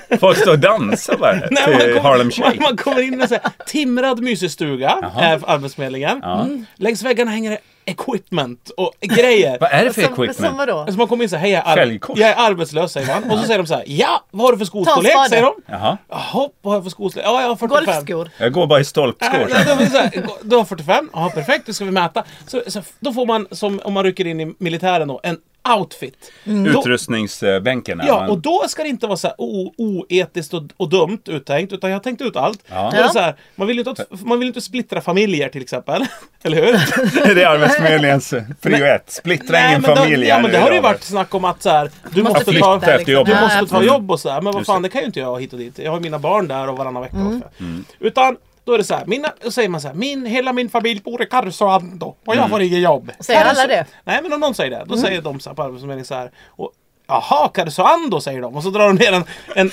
S1: var, folk står och dansar bara
S3: Nej, man,
S1: till Harlem
S3: kommer, man,
S1: Shake.
S3: man kommer in med så här, timrad mysestuga, är Arbetsförmedlingen. Mm. Längs väggarna hänger det equipment och grejer.
S1: Vad är det för
S3: Alltså,
S2: Som, som
S1: equipment?
S2: vadå?
S3: Så man kommer in så här, hej jag är, ar-
S1: Fälgkors.
S3: jag är arbetslös säger man. Och så säger de så här, ja vad har du för skostorlek?
S2: Ta en spade.
S3: Säger de.
S1: Jaha.
S3: Jaha, vad har jag för skostorlek? Ja, jag har 45.
S2: Golfskor.
S1: Jag går bara i
S3: Nej,
S1: stolpskor.
S3: nej,
S1: sen.
S3: de är så här, Du har 45, ja perfekt, då ska vi mäta. Så, så, då får man, som om man rycker in i militären då, en outfit.
S1: Mm.
S3: Då-
S1: Utrustningsbänken. här,
S3: Ja,
S1: men-
S3: och då ska det inte vara så här o- oetiskt och, och dumt uttänkt, utan jag har tänkt ut allt.
S1: Ja.
S3: Då är det så här, man, vill ju inte att, man vill ju inte splittra familjer till exempel. [LAUGHS] Eller hur?
S1: [LAUGHS] det är Arbetsförmedlingens prio ett. Splittra ingen
S3: men, då,
S1: familj
S3: ja,
S1: här
S3: men
S1: nu,
S3: det har ju
S1: Robert.
S3: varit snack om att så här, du
S2: Måste
S3: måste,
S1: flytta
S3: ta,
S1: efter jobbet.
S3: du
S2: Ja,
S3: måste ta
S2: absolut.
S3: jobb och så här. Men vad
S1: Just
S3: fan,
S1: det.
S3: det kan ju inte jag hit och dit. Jag har mina barn där och varannan vecka. Mm. Utan då är det så här, mina, då säger man så här, min, hela min familj bor i Karesuando och
S1: Mm.
S3: jag får inget jobb.
S2: Säger alla
S3: Karesu-
S2: det?
S3: Nej, men om någon säger det, då säger de så här på Arbetsförmedlingen så här. Och, Jaha, Karesuando säger de. Och så drar de ner en,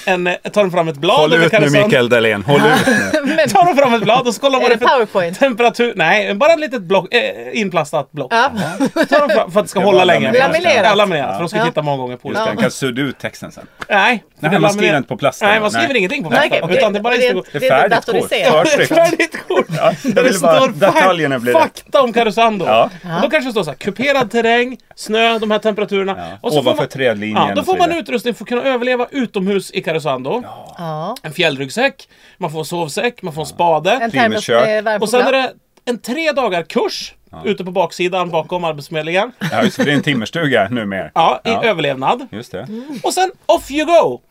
S3: en, en tar de fram ett blad.
S1: Håll
S3: över
S1: ut nu
S3: Karesuando.
S1: Mikael Dahlén. Håll ut nu.
S2: [LAUGHS] Men,
S3: [LAUGHS] Tar de fram ett blad och så kollar
S2: Är
S3: vad det
S2: det
S3: är för
S2: powerpoint?
S3: temperatur. Nej, bara ett litet block, eh, inplastat block.
S2: ja.
S3: Tar de fram för att det ska
S1: Det
S3: hålla
S1: var
S3: länge.
S2: laminerat.
S3: Ja, laminerat. För de ska
S2: Ja.
S3: titta många gånger på olika.
S1: Han kan sudda ut texten sen.
S3: Nej, för
S1: Nej,
S3: det är
S1: man skriver
S3: laminer-
S1: inte på plasten.
S3: Nej, man skriver
S1: Nej.
S3: ingenting på
S2: Nej,
S3: plasten.
S2: okej.
S3: Utan det är bara
S2: Det är-
S1: [LAUGHS]
S3: insta-
S1: Det
S2: Det
S1: är
S2: är
S1: färdigt kort.
S2: datoriserat.
S1: För
S3: ett
S1: snyggt.
S3: [LAUGHS] färdigt kort.
S1: Ja,
S3: Där
S1: jag
S3: det
S1: ville bara,
S3: står
S1: detaljerna
S3: fak-
S1: blir rätt.
S3: fakta om Karesuando.
S1: Ja.
S3: Och då kanske det står så här, kuperad terräng, snö, de här temperaturerna.
S1: Ja.
S3: Och så får
S1: Ovanför
S3: man,
S1: trädlinjen
S3: ja, då
S1: och så
S3: får man
S1: vidare.
S3: utrustning för att kunna överleva utomhus i Karesuando.
S2: ja.
S3: En fjällryggsäck, man får en sovsäck, man får en spade.
S2: En
S1: Primus
S2: termos
S1: kök.
S2: med varm
S3: Och sen är
S2: choklad.
S3: det en tre dagar kurs ute på baksidan bakom Arbetsförmedlingen.
S1: Ja, just det. Det är en timmerstuga numera.
S3: Ja, i överlevnad.
S1: Just det.
S3: Och sen off you go!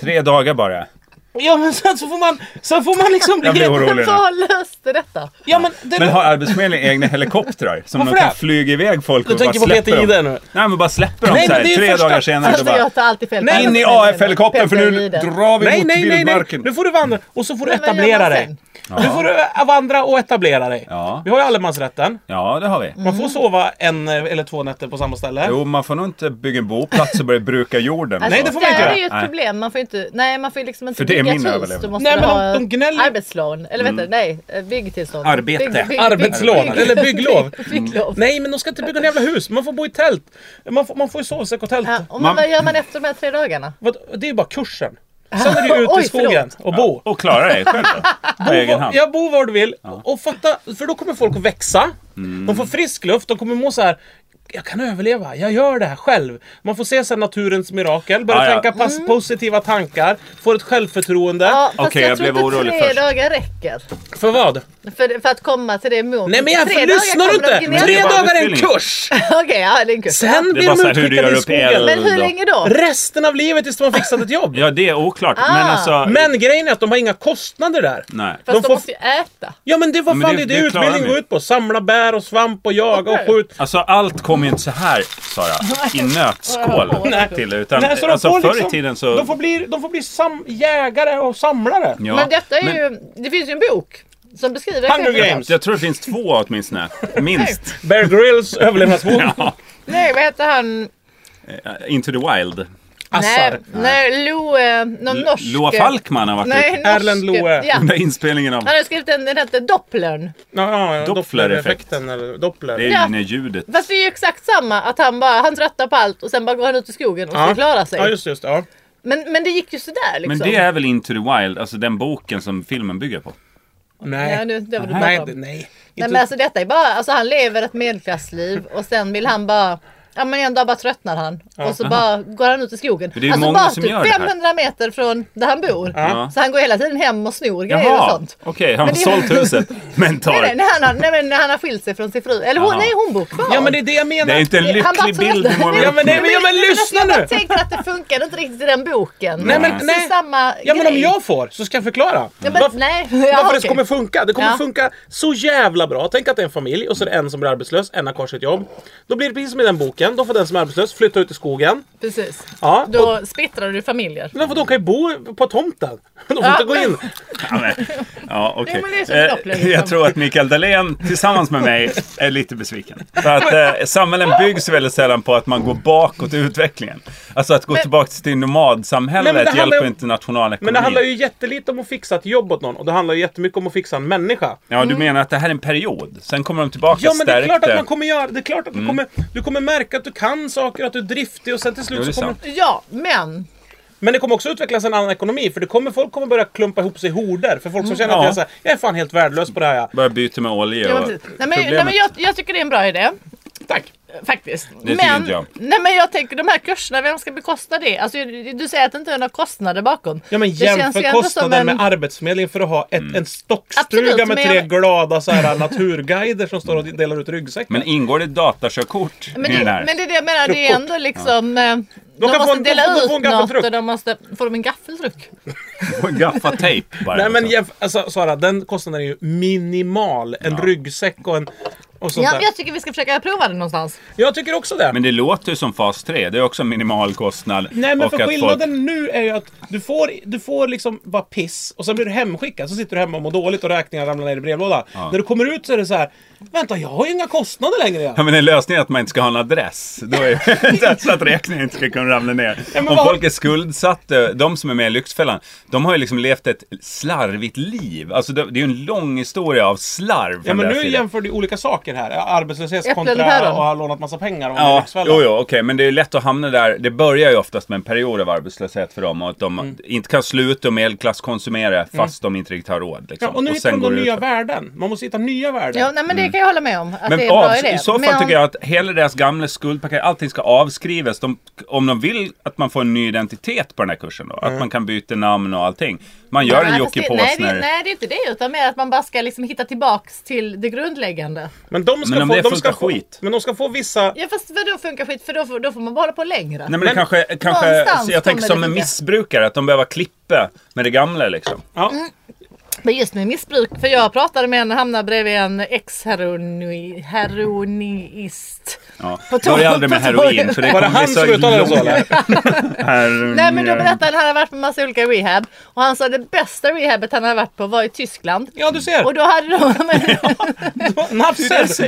S1: Tre dagar bara.
S3: Ja men sen så får man, sen får man liksom
S1: Jag blir
S3: bli...
S1: orolig nu.
S2: Vad löste detta?
S3: Ja, men det,
S1: Men har Arbetsförmedlingen egna helikoptrar? Som de
S3: Varför
S1: kan
S3: det?
S1: flyga iväg folk
S3: Du
S1: och bara
S3: tänker på
S1: släpper
S3: PTI där
S1: dem?
S3: nu?
S1: Nej men bara släpper dem
S3: Nej,
S1: så
S3: men
S1: här.
S3: det är ju
S1: tre
S3: första-
S1: dagar senare så
S2: Alltså,
S1: bara
S2: jag tar alltid fel. på
S1: In i
S2: arbetsförmedlingen.
S1: AF-helikoptern för
S2: Petter
S1: nu
S2: Liden.
S1: drar vi
S3: Nej,
S1: mot
S3: nej, nej, nej.
S1: vildmarken.
S3: Nu får du vandra och så får du
S2: Men vad gör
S3: etablera
S2: man
S3: dig.
S2: sen?
S3: Du får eh, vandra och etablera dig.
S1: Ja.
S3: Vi har ju allemansrätten.
S1: Ja det har vi.
S3: Man
S2: Mm.
S3: får sova en eh, eller två nätter på samma ställe.
S1: Jo man får nog inte bygga en boplats och börja bruka jorden. och
S2: Alltså,
S3: Nej,
S1: så.
S3: det får
S2: där
S3: man inte göra.
S2: är ju ett
S1: Nej.
S2: problem. Man får inte, nej, man får ju liksom inte
S1: För det är
S2: bygga
S1: min
S2: ett hus.
S1: överlevnad. Mm.
S2: Du måste
S3: Nej, men de-
S2: ha
S3: de gnäller-
S2: arbetslån. Eller vänta, nej. eh, Byggtillstånd.
S1: Arbete.
S3: Arbetslån eller bygglov.
S2: [LAUGHS] Bygglov.
S1: Mm.
S3: Nej, men de ska inte bygga en jävla hus. Man får bo i tält. Man får, man får ju sovsäck och tält.
S2: Ja, och
S1: Man-
S2: men vad gör man efter de här tre dagarna?
S3: Vad- Det är ju bara kursen. Sen är det ju ut
S2: [LAUGHS]
S3: i
S2: Oj,
S3: skogen och bo.
S1: Och klara dig själv
S3: [LAUGHS]
S1: då. På egen hand.
S3: Ja, bo var du vill. Och fatta, för då kommer folk att växa.
S1: Mm.
S3: De får frisk luft, de kommer må så här. Jag kan överleva, jag gör det här själv. Man får se sen naturens mirakel, börja
S1: Ja, ja.
S3: tänka pass- positiva tankar, får ett självförtroende.
S2: Mm. Ja, fast
S1: Okej,
S2: jag,
S1: jag
S2: tror
S1: blev
S2: inte
S1: orolig
S2: tre
S1: först.
S2: dagar räcker.
S3: För vad?
S2: För, för att komma till det målet.
S3: Nej men jag
S2: Tre dagar
S3: lyssnar du
S2: kommer de
S3: inte!
S2: gnälla.
S3: Tre
S1: bara
S3: dagar är en
S1: utbildning. [LAUGHS]
S3: kurs!
S2: Okej, ja det är en kurs.
S3: Sen
S1: Det är
S3: blir
S1: bara
S3: de
S1: så här hur du
S3: utskickade
S1: gör
S3: i
S1: upp eld.
S3: skogen.
S2: Men hur länge då?
S3: Resten av livet tills de har fixat ett jobb.
S1: Ja det är oklart. Men
S2: Ah.
S1: alltså.
S3: Men grejen är att de har inga kostnader där.
S1: Nej.
S2: Fast de,
S3: får-
S2: måste ju äta.
S3: Ja men det var
S1: men
S3: fan
S1: det-
S3: det, det,
S1: det klarar
S3: utbildning
S1: de
S3: går
S1: ju.
S3: ut på. Samla bär och svamp och jaga och
S2: Okej.
S3: skjut.
S1: Alltså allt kommer ju inte så här Sara. I nötskål
S2: Nej.
S1: till det, utan
S3: [LAUGHS] Nej, så de
S1: alltså,
S3: får
S1: förr
S3: liksom,
S1: i tiden så...
S3: De får bli, de får bli sam, jägare och samlare.
S1: Ja,
S2: men detta är
S1: men-
S2: ju, det finns ju en bok som beskriver
S3: Hunger
S2: exakt det.
S3: Games.
S1: Jag tror det finns två åtminstone.
S3: [LAUGHS]
S1: Minst.
S3: Bear Grylls överlevnadsbok.
S1: [LAUGHS] Ja.
S2: Nej, vad heter han?
S1: Into the Wild.
S3: Assar.
S2: Nej, nej, Loe, någon norsk.
S1: Loa Falkman har varit
S2: Nej,
S1: ute.
S2: norsk.
S3: Erland Loe.
S2: Ja.
S1: Den där inspelningen av...
S2: Han har skrivit en, den hette Dopplern.
S3: Ja, ja,
S1: Dopplereffekt.
S3: Dopplereffekten eller Doppler.
S1: Det är
S2: Ja.
S1: ju när ljudet...
S2: Fast det är ju exakt samma, att han bara, han tröttnar på allt och sen bara går han ut i skogen och ska klara sig.
S3: Ja, just just det, ja.
S2: men, men det gick ju sådär liksom.
S1: Men det är väl Into the Wild, alltså den boken som filmen bygger på?
S3: Nej.
S2: Ja, nu, det var det du
S3: nej,
S2: pratade
S3: det-
S2: om.
S3: nej.
S2: Nej
S3: Inte-
S2: men alltså detta är bara, alltså han lever ett medelklassliv och sen vill han bara Ja men en dag bara tröttnar han och så bara går han ut i skogen.
S1: det är ju
S2: alltså
S1: många
S2: bara
S1: som
S2: typ
S1: gör det här.
S2: 500 meter från där han bor.
S1: Ja.
S2: Så han går hela tiden hem och snor grejer och
S1: Jaha,
S2: sånt.
S1: okej. han har
S2: Men det-
S1: sålt huset. Men
S2: [LAUGHS] Nej, nej,
S1: tar...
S2: när han, har, nej men när han har skilt sig från sin fru. Eller hon,
S1: Jaha.
S2: nej hon bor kvar.
S3: Ja, men det är det jag menar.
S1: Det är inte en
S2: Han bara
S1: lycklig bild du
S2: tröttnar.
S1: målar
S3: Ja,
S1: upp
S3: men,
S1: nu.
S3: nej, men, ja, men lyssna
S2: jag bara
S3: nu!
S2: tänkte att det funkar inte riktigt i den boken.
S3: Nej, men-
S2: det
S3: nej.
S2: är samma
S3: Ja, men om
S2: grej.
S3: jag får så ska jag förklara.
S2: Ja, men,
S3: Varför-
S2: nej. Ja,
S3: Varför det
S2: okej.
S3: kommer funka. Det kommer
S2: Ja.
S3: funka så jävla bra. Tänk att det är en familj och så är det en som blir arbetslös, en har kvar sitt jobb. Då blir det precis som i den boken. Då får den som är arbetslös flytta ut i skogen.
S2: Precis.
S3: Ja,
S2: Då splittrar du familjer.
S3: Men för de kan ju bo på tomten. [LAUGHS] De får inte gå in.
S1: Ja, men-
S2: [LAUGHS]
S1: ja okej.
S2: Jo, men det är som
S1: Eh,
S2: Doppler, liksom.
S1: Jag tror att Mikael Dahlén tillsammans med mig är lite besviken. För att eh, samhällen byggs väldigt sällan på att man går bakåt i utvecklingen. Alltså att gå tillbaka till
S3: Nej, men det
S1: nomadsamhället
S3: handlar
S1: hjälper
S3: ju-
S1: inte nationalekonomin.
S3: Men det handlar ju jättelite om att fixa ett jobb åt någon och det handlar ju jättemycket om att fixa en människa.
S1: Ja,
S2: Mm.
S1: du menar att det här är en period. Sen kommer de tillbaka
S3: Ja men det är klart
S1: stärkta.
S3: att man kommer göra det. är klart att
S1: Mm.
S3: du, kommer, du kommer märka att du kan saker, att du är driftig och sen till
S1: Jo,
S3: slut
S1: det
S3: så
S1: är
S3: kommer...
S1: sant.
S2: Ja, men
S3: Men det kommer också utvecklas en annan ekonomi för det kommer, folk kommer börja klumpa ihop sig i horder. För folk som känner att
S1: Mm. Ja.
S3: jag, är så här, jag är fan helt värdelös på det här. ja."
S1: Börjar byta med olja
S2: Ja,
S1: och...
S2: precis. Nej, men, nej,
S1: Problemet-
S2: men jag, jag tycker det är en bra idé.
S3: Tack!
S2: Faktiskt.
S1: Det tycker
S2: men,
S1: inte jag.
S2: Nej men jag tänker de här kurserna, vem ska bekosta det? Alltså, du säger att det inte är några kostnader bakom.
S3: Ja men
S2: Det känns ju
S3: jämför
S2: ändå som
S3: kostnaden
S2: en-
S3: med Arbetsförmedlingen för att ha ett,
S1: Mm.
S3: en stockstuga
S2: Absolut,
S3: med
S2: men
S3: tre
S2: jag-
S3: glada så här, naturguider som står och delar ut ryggsäckar.
S1: Men ingår det datakörkort
S2: Men
S1: i
S2: det,
S1: den här?
S2: men det är det jag menar, det är ändå liksom... eh, De,
S3: kan få
S2: måste
S3: en- de
S2: dela
S3: får- de
S2: ut
S3: får en
S2: något
S3: gaffeltruck.
S2: och de måste... Får de en gaffeltruck?
S1: Gaffatejp bara.
S3: Nej men
S1: liksom.
S3: jämf- alltså, Sara, den kostnaden är ju minimal. En ryggsäck och en... Och sånt
S2: Ja,
S3: där.
S2: men jag tycker vi ska försöka prova det någonstans.
S3: Jag tycker också det.
S1: men det låter ju som fas 3. Det är också en minimal kostnad.
S3: Nej men
S1: Och
S3: för
S1: att
S3: skillnaden nu är ju att du får, du får liksom bara piss och sen blir du hemskickad. Så sitter du hemma och mår dåligt och räkningar ramlar ner i brevlådan. När du kommer ut så är det så här. Vänta, jag har ju inga kostnader längre.
S1: Ja men en lösning är att man inte ska ha en adress. Då [LAUGHS] är så att räkningen inte ska kunna ramla ner.
S3: men
S1: Om
S3: vad-
S1: folk är skuldsatta, de som är med i Lyxfällan, de har ju liksom levt ett slarvigt liv. Alltså det det är ju en lång historia av slarv.
S3: Ja
S1: från
S3: men
S1: deras
S3: nu
S1: sida.
S3: jämför du olika saker här. Arbetslöshet
S2: Äpplen och
S3: kontra
S2: päron.
S3: och ha lånat massa pengar och
S1: Ja,
S3: ja,
S1: jo, jo, okej, men det är lätt att hamna där. Det börjar ju oftast med en period av arbetslöshet för dem och att de
S3: Mm.
S1: inte kan sluta och medelklass konsumera fast de inte riktigt har råd. Liksom.
S3: Ja, och nu hittar de
S1: går
S3: de
S1: det
S3: nya
S1: ut.
S3: värden. Man måste hitta nya värden.
S2: Ja, nej, men det kan jag hålla med om. Att det är
S1: Mm. Men
S2: en bra
S1: av,
S2: idé.
S1: i så fall
S2: men,
S1: tycker jag att hela deras gamla skuldpaket, allting ska avskrivas. De, om de vill att man får en ny identitet på den här kursen då,
S3: Mm.
S1: att man kan byta namn och allting. Man gör en
S2: Nej,
S1: Jocke
S2: fast det- nej, det,
S1: Påsner.
S2: nej, det är inte det. Utan mer att man bara ska liksom hitta tillbaks till det grundläggande.
S3: Men de ska
S1: Men om
S3: få,
S1: det
S3: de
S1: funkar
S3: ska få,
S1: skit.
S3: Men de ska få vissa...
S2: Ja, fast vadå funkar skit? För då får, då får man bara hålla på längre.
S1: Nej men, det
S3: Men
S1: kanske, kanske
S2: någonstans
S1: jag tänker
S2: kommer
S1: som
S2: det
S1: en
S2: ligga.
S1: missbrukare, att de behöver klippa med det gamla liksom.
S3: Ja.
S2: Men just med missbruk, för jag pratade med en och hamnade bredvid en ex-heroinist.
S1: Ja.
S2: På tå-
S1: Börja aldrig med
S2: på tå-
S1: heroin, för det
S3: Var det
S1: kommer
S3: han
S1: bli så
S3: som uttalade det så
S1: långt.
S3: eller?
S1: Heroin.
S2: Nej men då berättade han, han hade varit på massa olika rehab. Och han sa det bästa rehabet han hade varit på var i Tyskland.
S3: Ja du ser! [LAUGHS]
S2: Och då hade de, [LAUGHS]
S3: Nafser!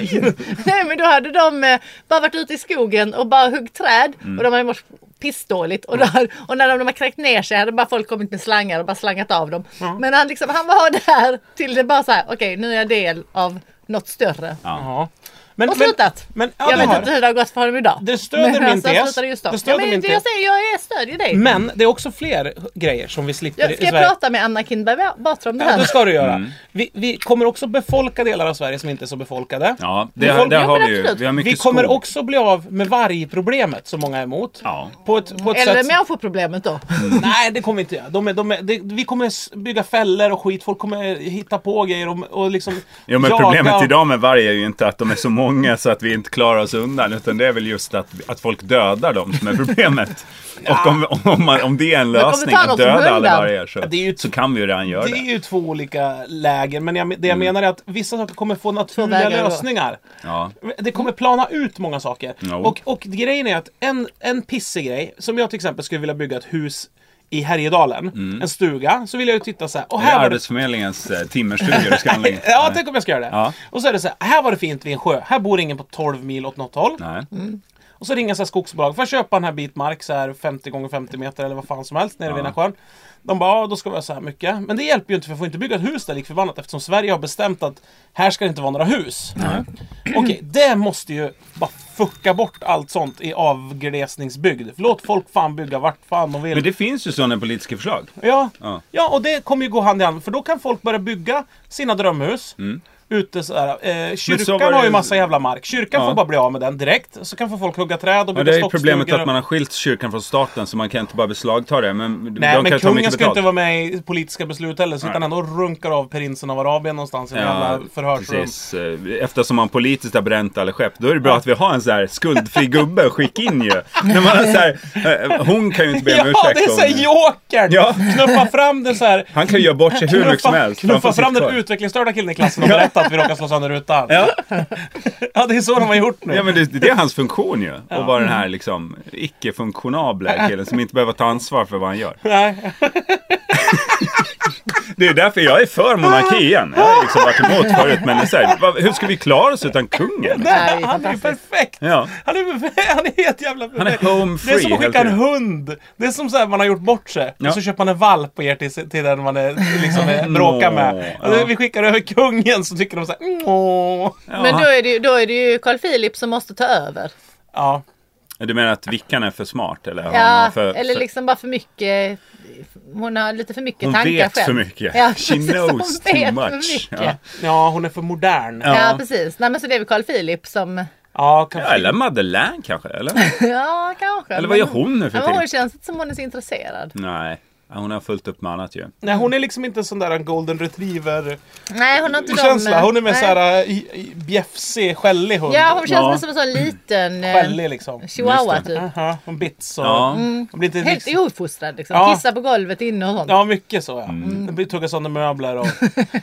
S2: nej, men då hade de eh, bara varit ute i skogen och bara huggt träd. Och de hade mått pissdåligt. Och, då, hade- och när de, de hade kräkt ner sig hade bara folk kommit med slangar och bara slangat av dem. Men han, liksom, han var där till det bara så här, okej nu är jag del av något större.
S3: [LAUGHS] Ja. Men,
S2: Och slutat.
S3: Men, men, ja,
S2: jag
S3: du
S2: vet
S3: har.
S2: inte hur det har gått för honom idag.
S3: Det stöder
S2: Men
S3: min
S2: alltså, han
S3: tes.
S2: slutade just då.
S3: Det stöder
S2: ja, men
S3: min
S2: det jag
S3: tes.
S2: säger, jag är- stödjer dig.
S3: men det är också fler grejer som vi slipper
S2: jag,
S3: i
S2: ska jag
S3: Sverige.
S2: prata med Anna Kinberg Batra om det
S3: Ja,
S2: här?
S3: det ska du göra.
S1: Mm.
S3: Vi, vi kommer också befolka delar av Sverige som inte är så befolkade.
S1: Ja, det,
S3: folk-
S1: där
S2: ja,
S1: har
S2: men
S1: vi ju.
S2: absolut.
S1: Vi har mycket
S3: Vi kommer
S1: skog.
S3: också bli av med vargproblemet som många är emot.
S1: Ja.
S3: På ett, på ett
S2: Eller
S3: sätt... Mm.
S2: människoproblemet då.
S3: Nej, det kommer vi inte göra. De är, de är, det- vi kommer s- bygga fällor och skit. Folk kommer hitta på grejer och, och liksom
S1: Ja men
S3: jaga.
S1: problemet idag med varg är ju inte att de är så många så att vi inte klarar oss undan. Utan det är väl just att, att folk dödar dem som är
S3: [LAUGHS]
S1: problemet. Och om, om, man, om det är en
S2: kommer
S1: lösning
S2: ta
S1: att
S2: dem som
S1: döda alla
S2: hundar.
S1: vargar så,
S3: det är ju-
S1: så kan vi ju redan göra
S3: Det är
S1: det. Mm.
S3: ju två olika läger, men jag, det jag menar är att vissa saker kommer få naturliga
S2: vägar att gå.
S3: lösningar.
S1: Ja.
S3: Det kommer plana ut många saker.
S1: Jo.
S3: Och, och grejen är att en, en pissig grej, som jag till exempel skulle vilja bygga ett hus i Härjedalen, en stuga, så vill jag ju titta så här. Och
S1: Mm. Det är
S3: här var det
S1: Arbetsförmedlingens eh, timmerstugor du ska anlägga.
S3: [LAUGHS] Ja, tänk om jag ska göra det.
S1: Ja.
S3: Och så är det så här, här var det fint vid en sjö. Här bor ingen på 12 mil åt något håll.
S1: Nej.
S3: Och så ringer så här skogsbolag, får jag köpa en här bit mark så här 50 gånger 50 meter eller vad fan som helst nere vid den här sjön. De bara, ja då ska vi ha så här mycket. Men det hjälper ju inte för jag får inte bygga ett hus där lik förbannat eftersom Sverige har bestämt att här ska det inte vara några hus. Okej, det måste ju bara fucka bort allt sånt i avglesningsbygd. Låt folk fan bygga vart fan de vill.
S1: Men det finns ju sådana politiska förslag.
S3: Ja.
S1: Ja.
S3: Ja. och det kommer ju gå hand i hand. För då kan folk börja bygga sina drömhus. Ute sådär. Eh, kyrkan
S1: Mm. så var det-
S3: har ju massa jävla mark. Kyrkan
S1: Ja.
S3: får bara bli av med den direkt. Så kan få folk hugga träd och
S1: Ja,
S3: bygga
S1: det är ju
S3: stockstugor
S1: problemet att
S3: och-
S1: man har skilt kyrkan från staten så man kan inte bara beslagta det. Men
S3: Nej,
S1: de kan
S3: men
S1: ta
S3: kungen
S1: mycket
S3: ska
S1: betalt.
S3: inte vara med i politiska beslut heller. Så
S1: Nej.
S3: utan han ändå runkar av prinsen av Arabien någonstans i en
S1: Ja,
S3: jävla förhörsrum.
S1: precis. Eh, Eftersom man politiskt har bränt alla skepp, då är det bra att vi har en så här skuldfri gubbe att skicka in ju. När man har så här, eh, hon kan ju inte be om
S3: [LAUGHS] Ja,
S1: ursäkt.
S3: det är
S1: om-
S3: såhär jokern!
S1: Ja.
S3: Knuffa fram den såhär...
S1: Han kan ju göra bort sig hur mycket som helst. Han får
S3: knuffa
S1: sitta
S3: fram den
S1: kvar.
S3: utvecklingsstörda killen i
S1: [LAUGHS]
S3: klassen och berätta att vi råkar slå sönder rutan.
S1: Ja.
S3: [LAUGHS] ja, det är så de har gjort nu.
S1: Ja men det, det är hans funktion ju. Att vara den här liksom
S3: Mm.
S1: icke-funktionabla killen som inte behöver ta ansvar för vad han gör.
S3: Nej.
S1: Det är därför jag är för monarki igen. Jag har liksom varit
S3: Mm.
S1: emot förut men så här, vad- hur ska vi klara oss utan kungen?
S2: Nej,
S3: Nej,
S2: det är
S3: han är ju
S2: fantastiskt.
S3: perfekt!
S1: Ja.
S3: Han är, [LAUGHS] han är helt jävla
S1: Han är home
S3: Det är som
S1: free
S3: att
S1: helt
S3: skicka en
S1: enkelt.
S3: hund. Det är som så här man har gjort bort sig.
S1: Ja.
S3: Och så köper man en valp och ger till, sig- till den man är, liksom är, bråkar med.
S1: [LAUGHS] Nå,
S3: Och
S1: ja.
S3: Vi skickar över kungen så tycker de så här. "Åh."
S1: Ja,
S2: Men då
S1: han-
S2: är, det, ju- då är det ju Carl Philip som måste ta över.
S3: Ja.
S1: Du menar att Vickan är för smart? Eller, har
S2: Ja,
S1: man för,
S2: eller
S1: för-
S2: liksom bara för mycket. Hon har lite för mycket
S1: Hon
S2: tankar
S1: vet
S2: själv.
S1: för mycket.
S2: Ja,
S1: She
S2: precis,
S1: knows
S2: hon
S1: too
S2: vet
S1: much.
S2: För mycket.
S1: Ja.
S2: Ja.
S3: ja, hon är för modern.
S1: Ja.
S2: precis. Nej men så det är väl Carl Philip som
S3: Ja, kan
S1: Ja, eller Madeleine kanske? Eller,
S2: Ja, kanske.
S1: eller vad gör hon nu för
S2: Men hon
S1: tillfället?
S2: känns inte som hon är så intresserad.
S1: Nej, hon har fullt upp med annat ju.
S3: Nej, hon är liksom inte en sån där en golden retriever
S2: Nej, hon har inte de-
S3: känsla. Hon är mer
S2: Nej.
S3: såhär i- i- bjäfsig, skällig hund.
S2: Ja, hon känns
S1: Ja.
S2: mer som en sån liten eh,
S3: Skällig liksom.
S2: chihuahua
S1: Just det.
S2: typ.
S3: Aha, hon bits och...
S1: Ja.
S3: Hon blir inte
S2: Helt
S3: riktigt...
S2: ouppfostrad liksom.
S3: Ja.
S2: Kissar på golvet inne och sånt. [LAUGHS]
S3: Ja, mycket så ja. Mm. Det tuggar sönder möbler och...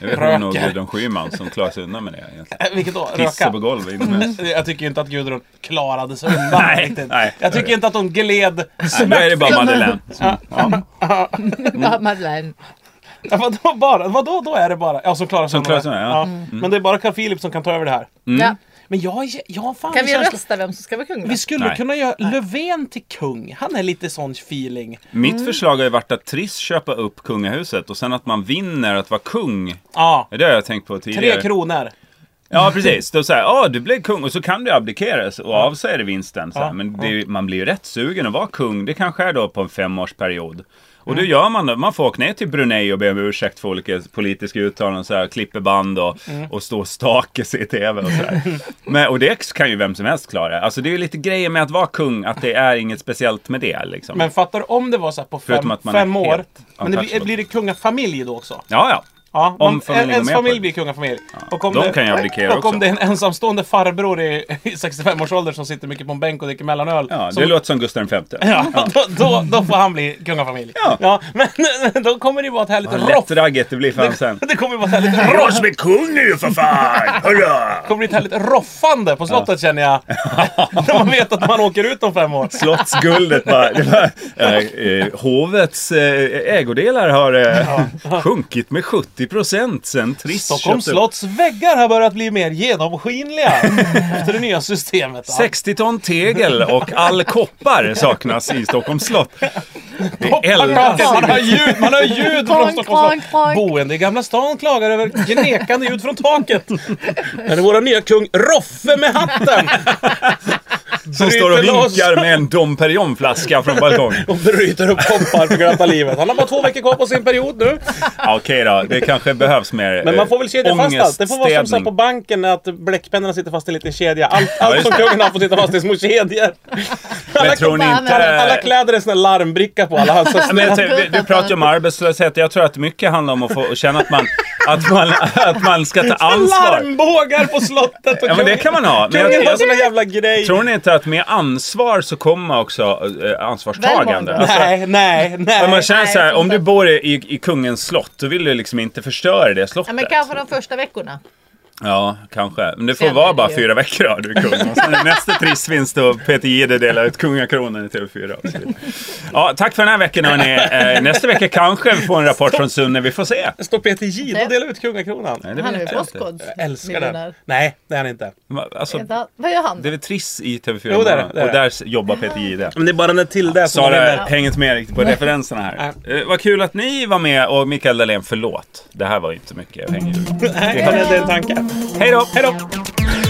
S1: Jag vet hon och
S3: Röker.
S1: Gudrun Schyman som klarar sig undan med det egentligen.
S3: Äh, Vilket då?
S1: Pissa
S3: Röka?
S1: på golvet inomhus.
S3: Jag tycker ju inte att Gudrun klarade sig undan
S1: Mm. [LAUGHS] Nej,
S3: riktigt.
S1: nej.
S3: Jag tycker inte att hon gled
S1: Nej, Då är det bara Madeleine. som- Ja, Mm.
S2: Ja, Madeleine.
S3: [LAUGHS] Ja, vadå bara? Vadå då är det bara? Ja, som klarar sig
S1: Som klarar
S3: undan.
S1: sig undan, ja. Mm.
S3: Men det är bara Carl Philip som kan ta över det här.
S2: Ja.
S3: Men jag, har ge- jag har fan
S2: Kan vi
S3: känsla-
S2: rösta vem som ska vara kung? då?
S3: Vi skulle
S1: Nej.
S3: kunna göra Löfven till kung. Han är lite sån feeling.
S1: Mitt förslag har ju varit att Triss köpa upp kungahuset och sen att man vinner att vara kung.
S3: Ja.
S1: Det har jag tänkt på tidigare.
S3: Tre kronor.
S1: Ja, precis. Då säger ja du blev kung och så kan du abdikera och avsäga dig vinsten. Så här.
S3: Ja,
S1: Men det, är ju- man blir ju rätt sugen att vara kung. Det kanske är då på en femårsperiod. Och då gör man det. Man får åka ner till Brunei och be om ursäkt för olika politiska uttalanden. Så här, klipper band och, och stå och stake sig i tv och så här. Men, Och det kan ju vem som helst klara. Alltså det är ju lite grejer med att vara kung, att det är inget speciellt med det liksom.
S3: Men fattar du om det var så här på
S1: Förutom
S3: fem,
S1: att man är
S3: fem år.
S1: helt
S3: Men det blir,
S1: untouchable.
S3: blir det kungafamilj då också?
S1: Ja, ja.
S3: Ja,
S1: Om
S3: man,
S1: familjen går
S3: ens
S1: med på
S3: familj
S1: det.
S3: blir kungafamilj. Och om
S1: De
S3: det,
S1: kan ju abdikera
S3: Och
S1: också.
S3: om det är en ensamstående farbror i, i 65-årsåldern som sitter mycket på en bänk och dricker mellanöl.
S1: ja det
S3: som,
S1: låter som Gustav V.
S3: ja, då, då, då får han bli kungafamilj.
S1: Ja.
S3: men [LAUGHS] då kommer det ju vara ett härligt
S1: Vad
S3: roff.
S1: lättragget det blir för honom sen.
S3: [LAUGHS] Det kommer ju vara ett härligt roff.
S1: Jag som är kung nu för fan! Hurra!
S3: Det kommer bli ett härligt roffande på slottet känner jag.
S1: [LAUGHS]
S3: När man vet att man åker ut om fem år.
S1: Slottsguldet bara. Det var, eh, eh, hovets eh, ägodelar har eh, sjunkit med 70 procent sen Triss
S3: Stockholms
S1: köpte upp.
S3: slotts väggar har börjat bli
S1: [LAUGHS]
S3: mer genomskinliga efter det nya systemet. va?
S1: 60 ton tegel och all koppar saknas i Stockholms slott. Det eldas.
S2: koppar.
S3: Man har ljud, man har ljud från
S2: Prank,
S3: Stockholms
S2: prank,
S3: slott.
S2: prank.
S3: Boende i Gamla stan klagar över gnekande ljud från taket. Här är våra nya kung Roffe med hatten.
S1: Som står och
S3: bryter loss.
S1: vinkar med en Dom Perignon-flaska från balkongen.
S3: Och bryter upp poppar för glatta livet. Han har bara två veckor kvar på sin period nu.
S1: Ja, Okej då, det kanske behövs mer eh,
S3: Men man får väl kedja fast allt. Det får vara som så här
S1: ångeststädning.
S3: på banken att bläckpennorna sitter fast i en liten kedja. Allt, allt
S1: just
S3: som
S1: det.
S3: kungen har får sitta fast i små kedjor. Alla,
S1: Men tror ni
S2: koppar,
S1: inte...
S3: alla kläder är såna larmbricka på. Alla hans
S1: Ja, Men jag tänker, du, du pratar ju om arbetslöshet. Jag tror att mycket handlar om att få känna att man, att man, att man ska ta ansvar.
S3: larmbågar på slottet. Och
S1: Ja, men det kan man ha. Men jag,
S3: Kungen har
S1: jag,
S3: såna jävla grejer.
S1: tror ni inte att med ansvar så kommer man också eh, ansvarstagande?
S2: Välmående.
S1: Alltså,
S3: Nej, nej, nej.
S1: om man känner
S2: Nej,
S1: så här,
S2: jag tror
S1: om du
S2: inte.
S1: bor i, i, i kungens slott, då vill du liksom inte förstöra det
S2: Ja,
S1: slottet.
S2: men kanske de första veckorna.
S1: Ja, kanske. Men det får
S2: Sen är
S1: vara
S2: det
S1: bara
S2: ju-
S1: fyra veckor då, du är kung. Och sen är nästa trissvinst och Peter Jihde delar ut kungakronan i TV4. och så vidare. Ja, tack för den här veckan hörni. Eh, Nästa vecka kanske vi får en rapport från Sunne, vi får se.
S3: Står Peter Jihde och delar ut kungakronan?
S1: Nej, det
S2: Han är
S1: vet
S2: ju
S1: jag inte.
S2: Postkods.
S3: Jag älskar den. Nej, det är han inte.
S1: Va- Alltså,
S2: Vad gör han?
S1: det är väl Triss i TV4
S3: Jo, det är det,
S1: Morgon,
S3: det är
S1: och
S3: det.
S1: där s- jobbar Peter Jihde.
S3: Men det är bara när Tilde är som
S1: Sara
S3: [LAUGHS] vinner.
S1: hänger inte med riktigt på referenserna här. Eh, vad kul att ni var med och Mikael Dahlén, förlåt. Det här var ju inte mycket jag hänger ut.
S3: Nej, det är en tanke.
S1: Hej då!
S3: Hej då!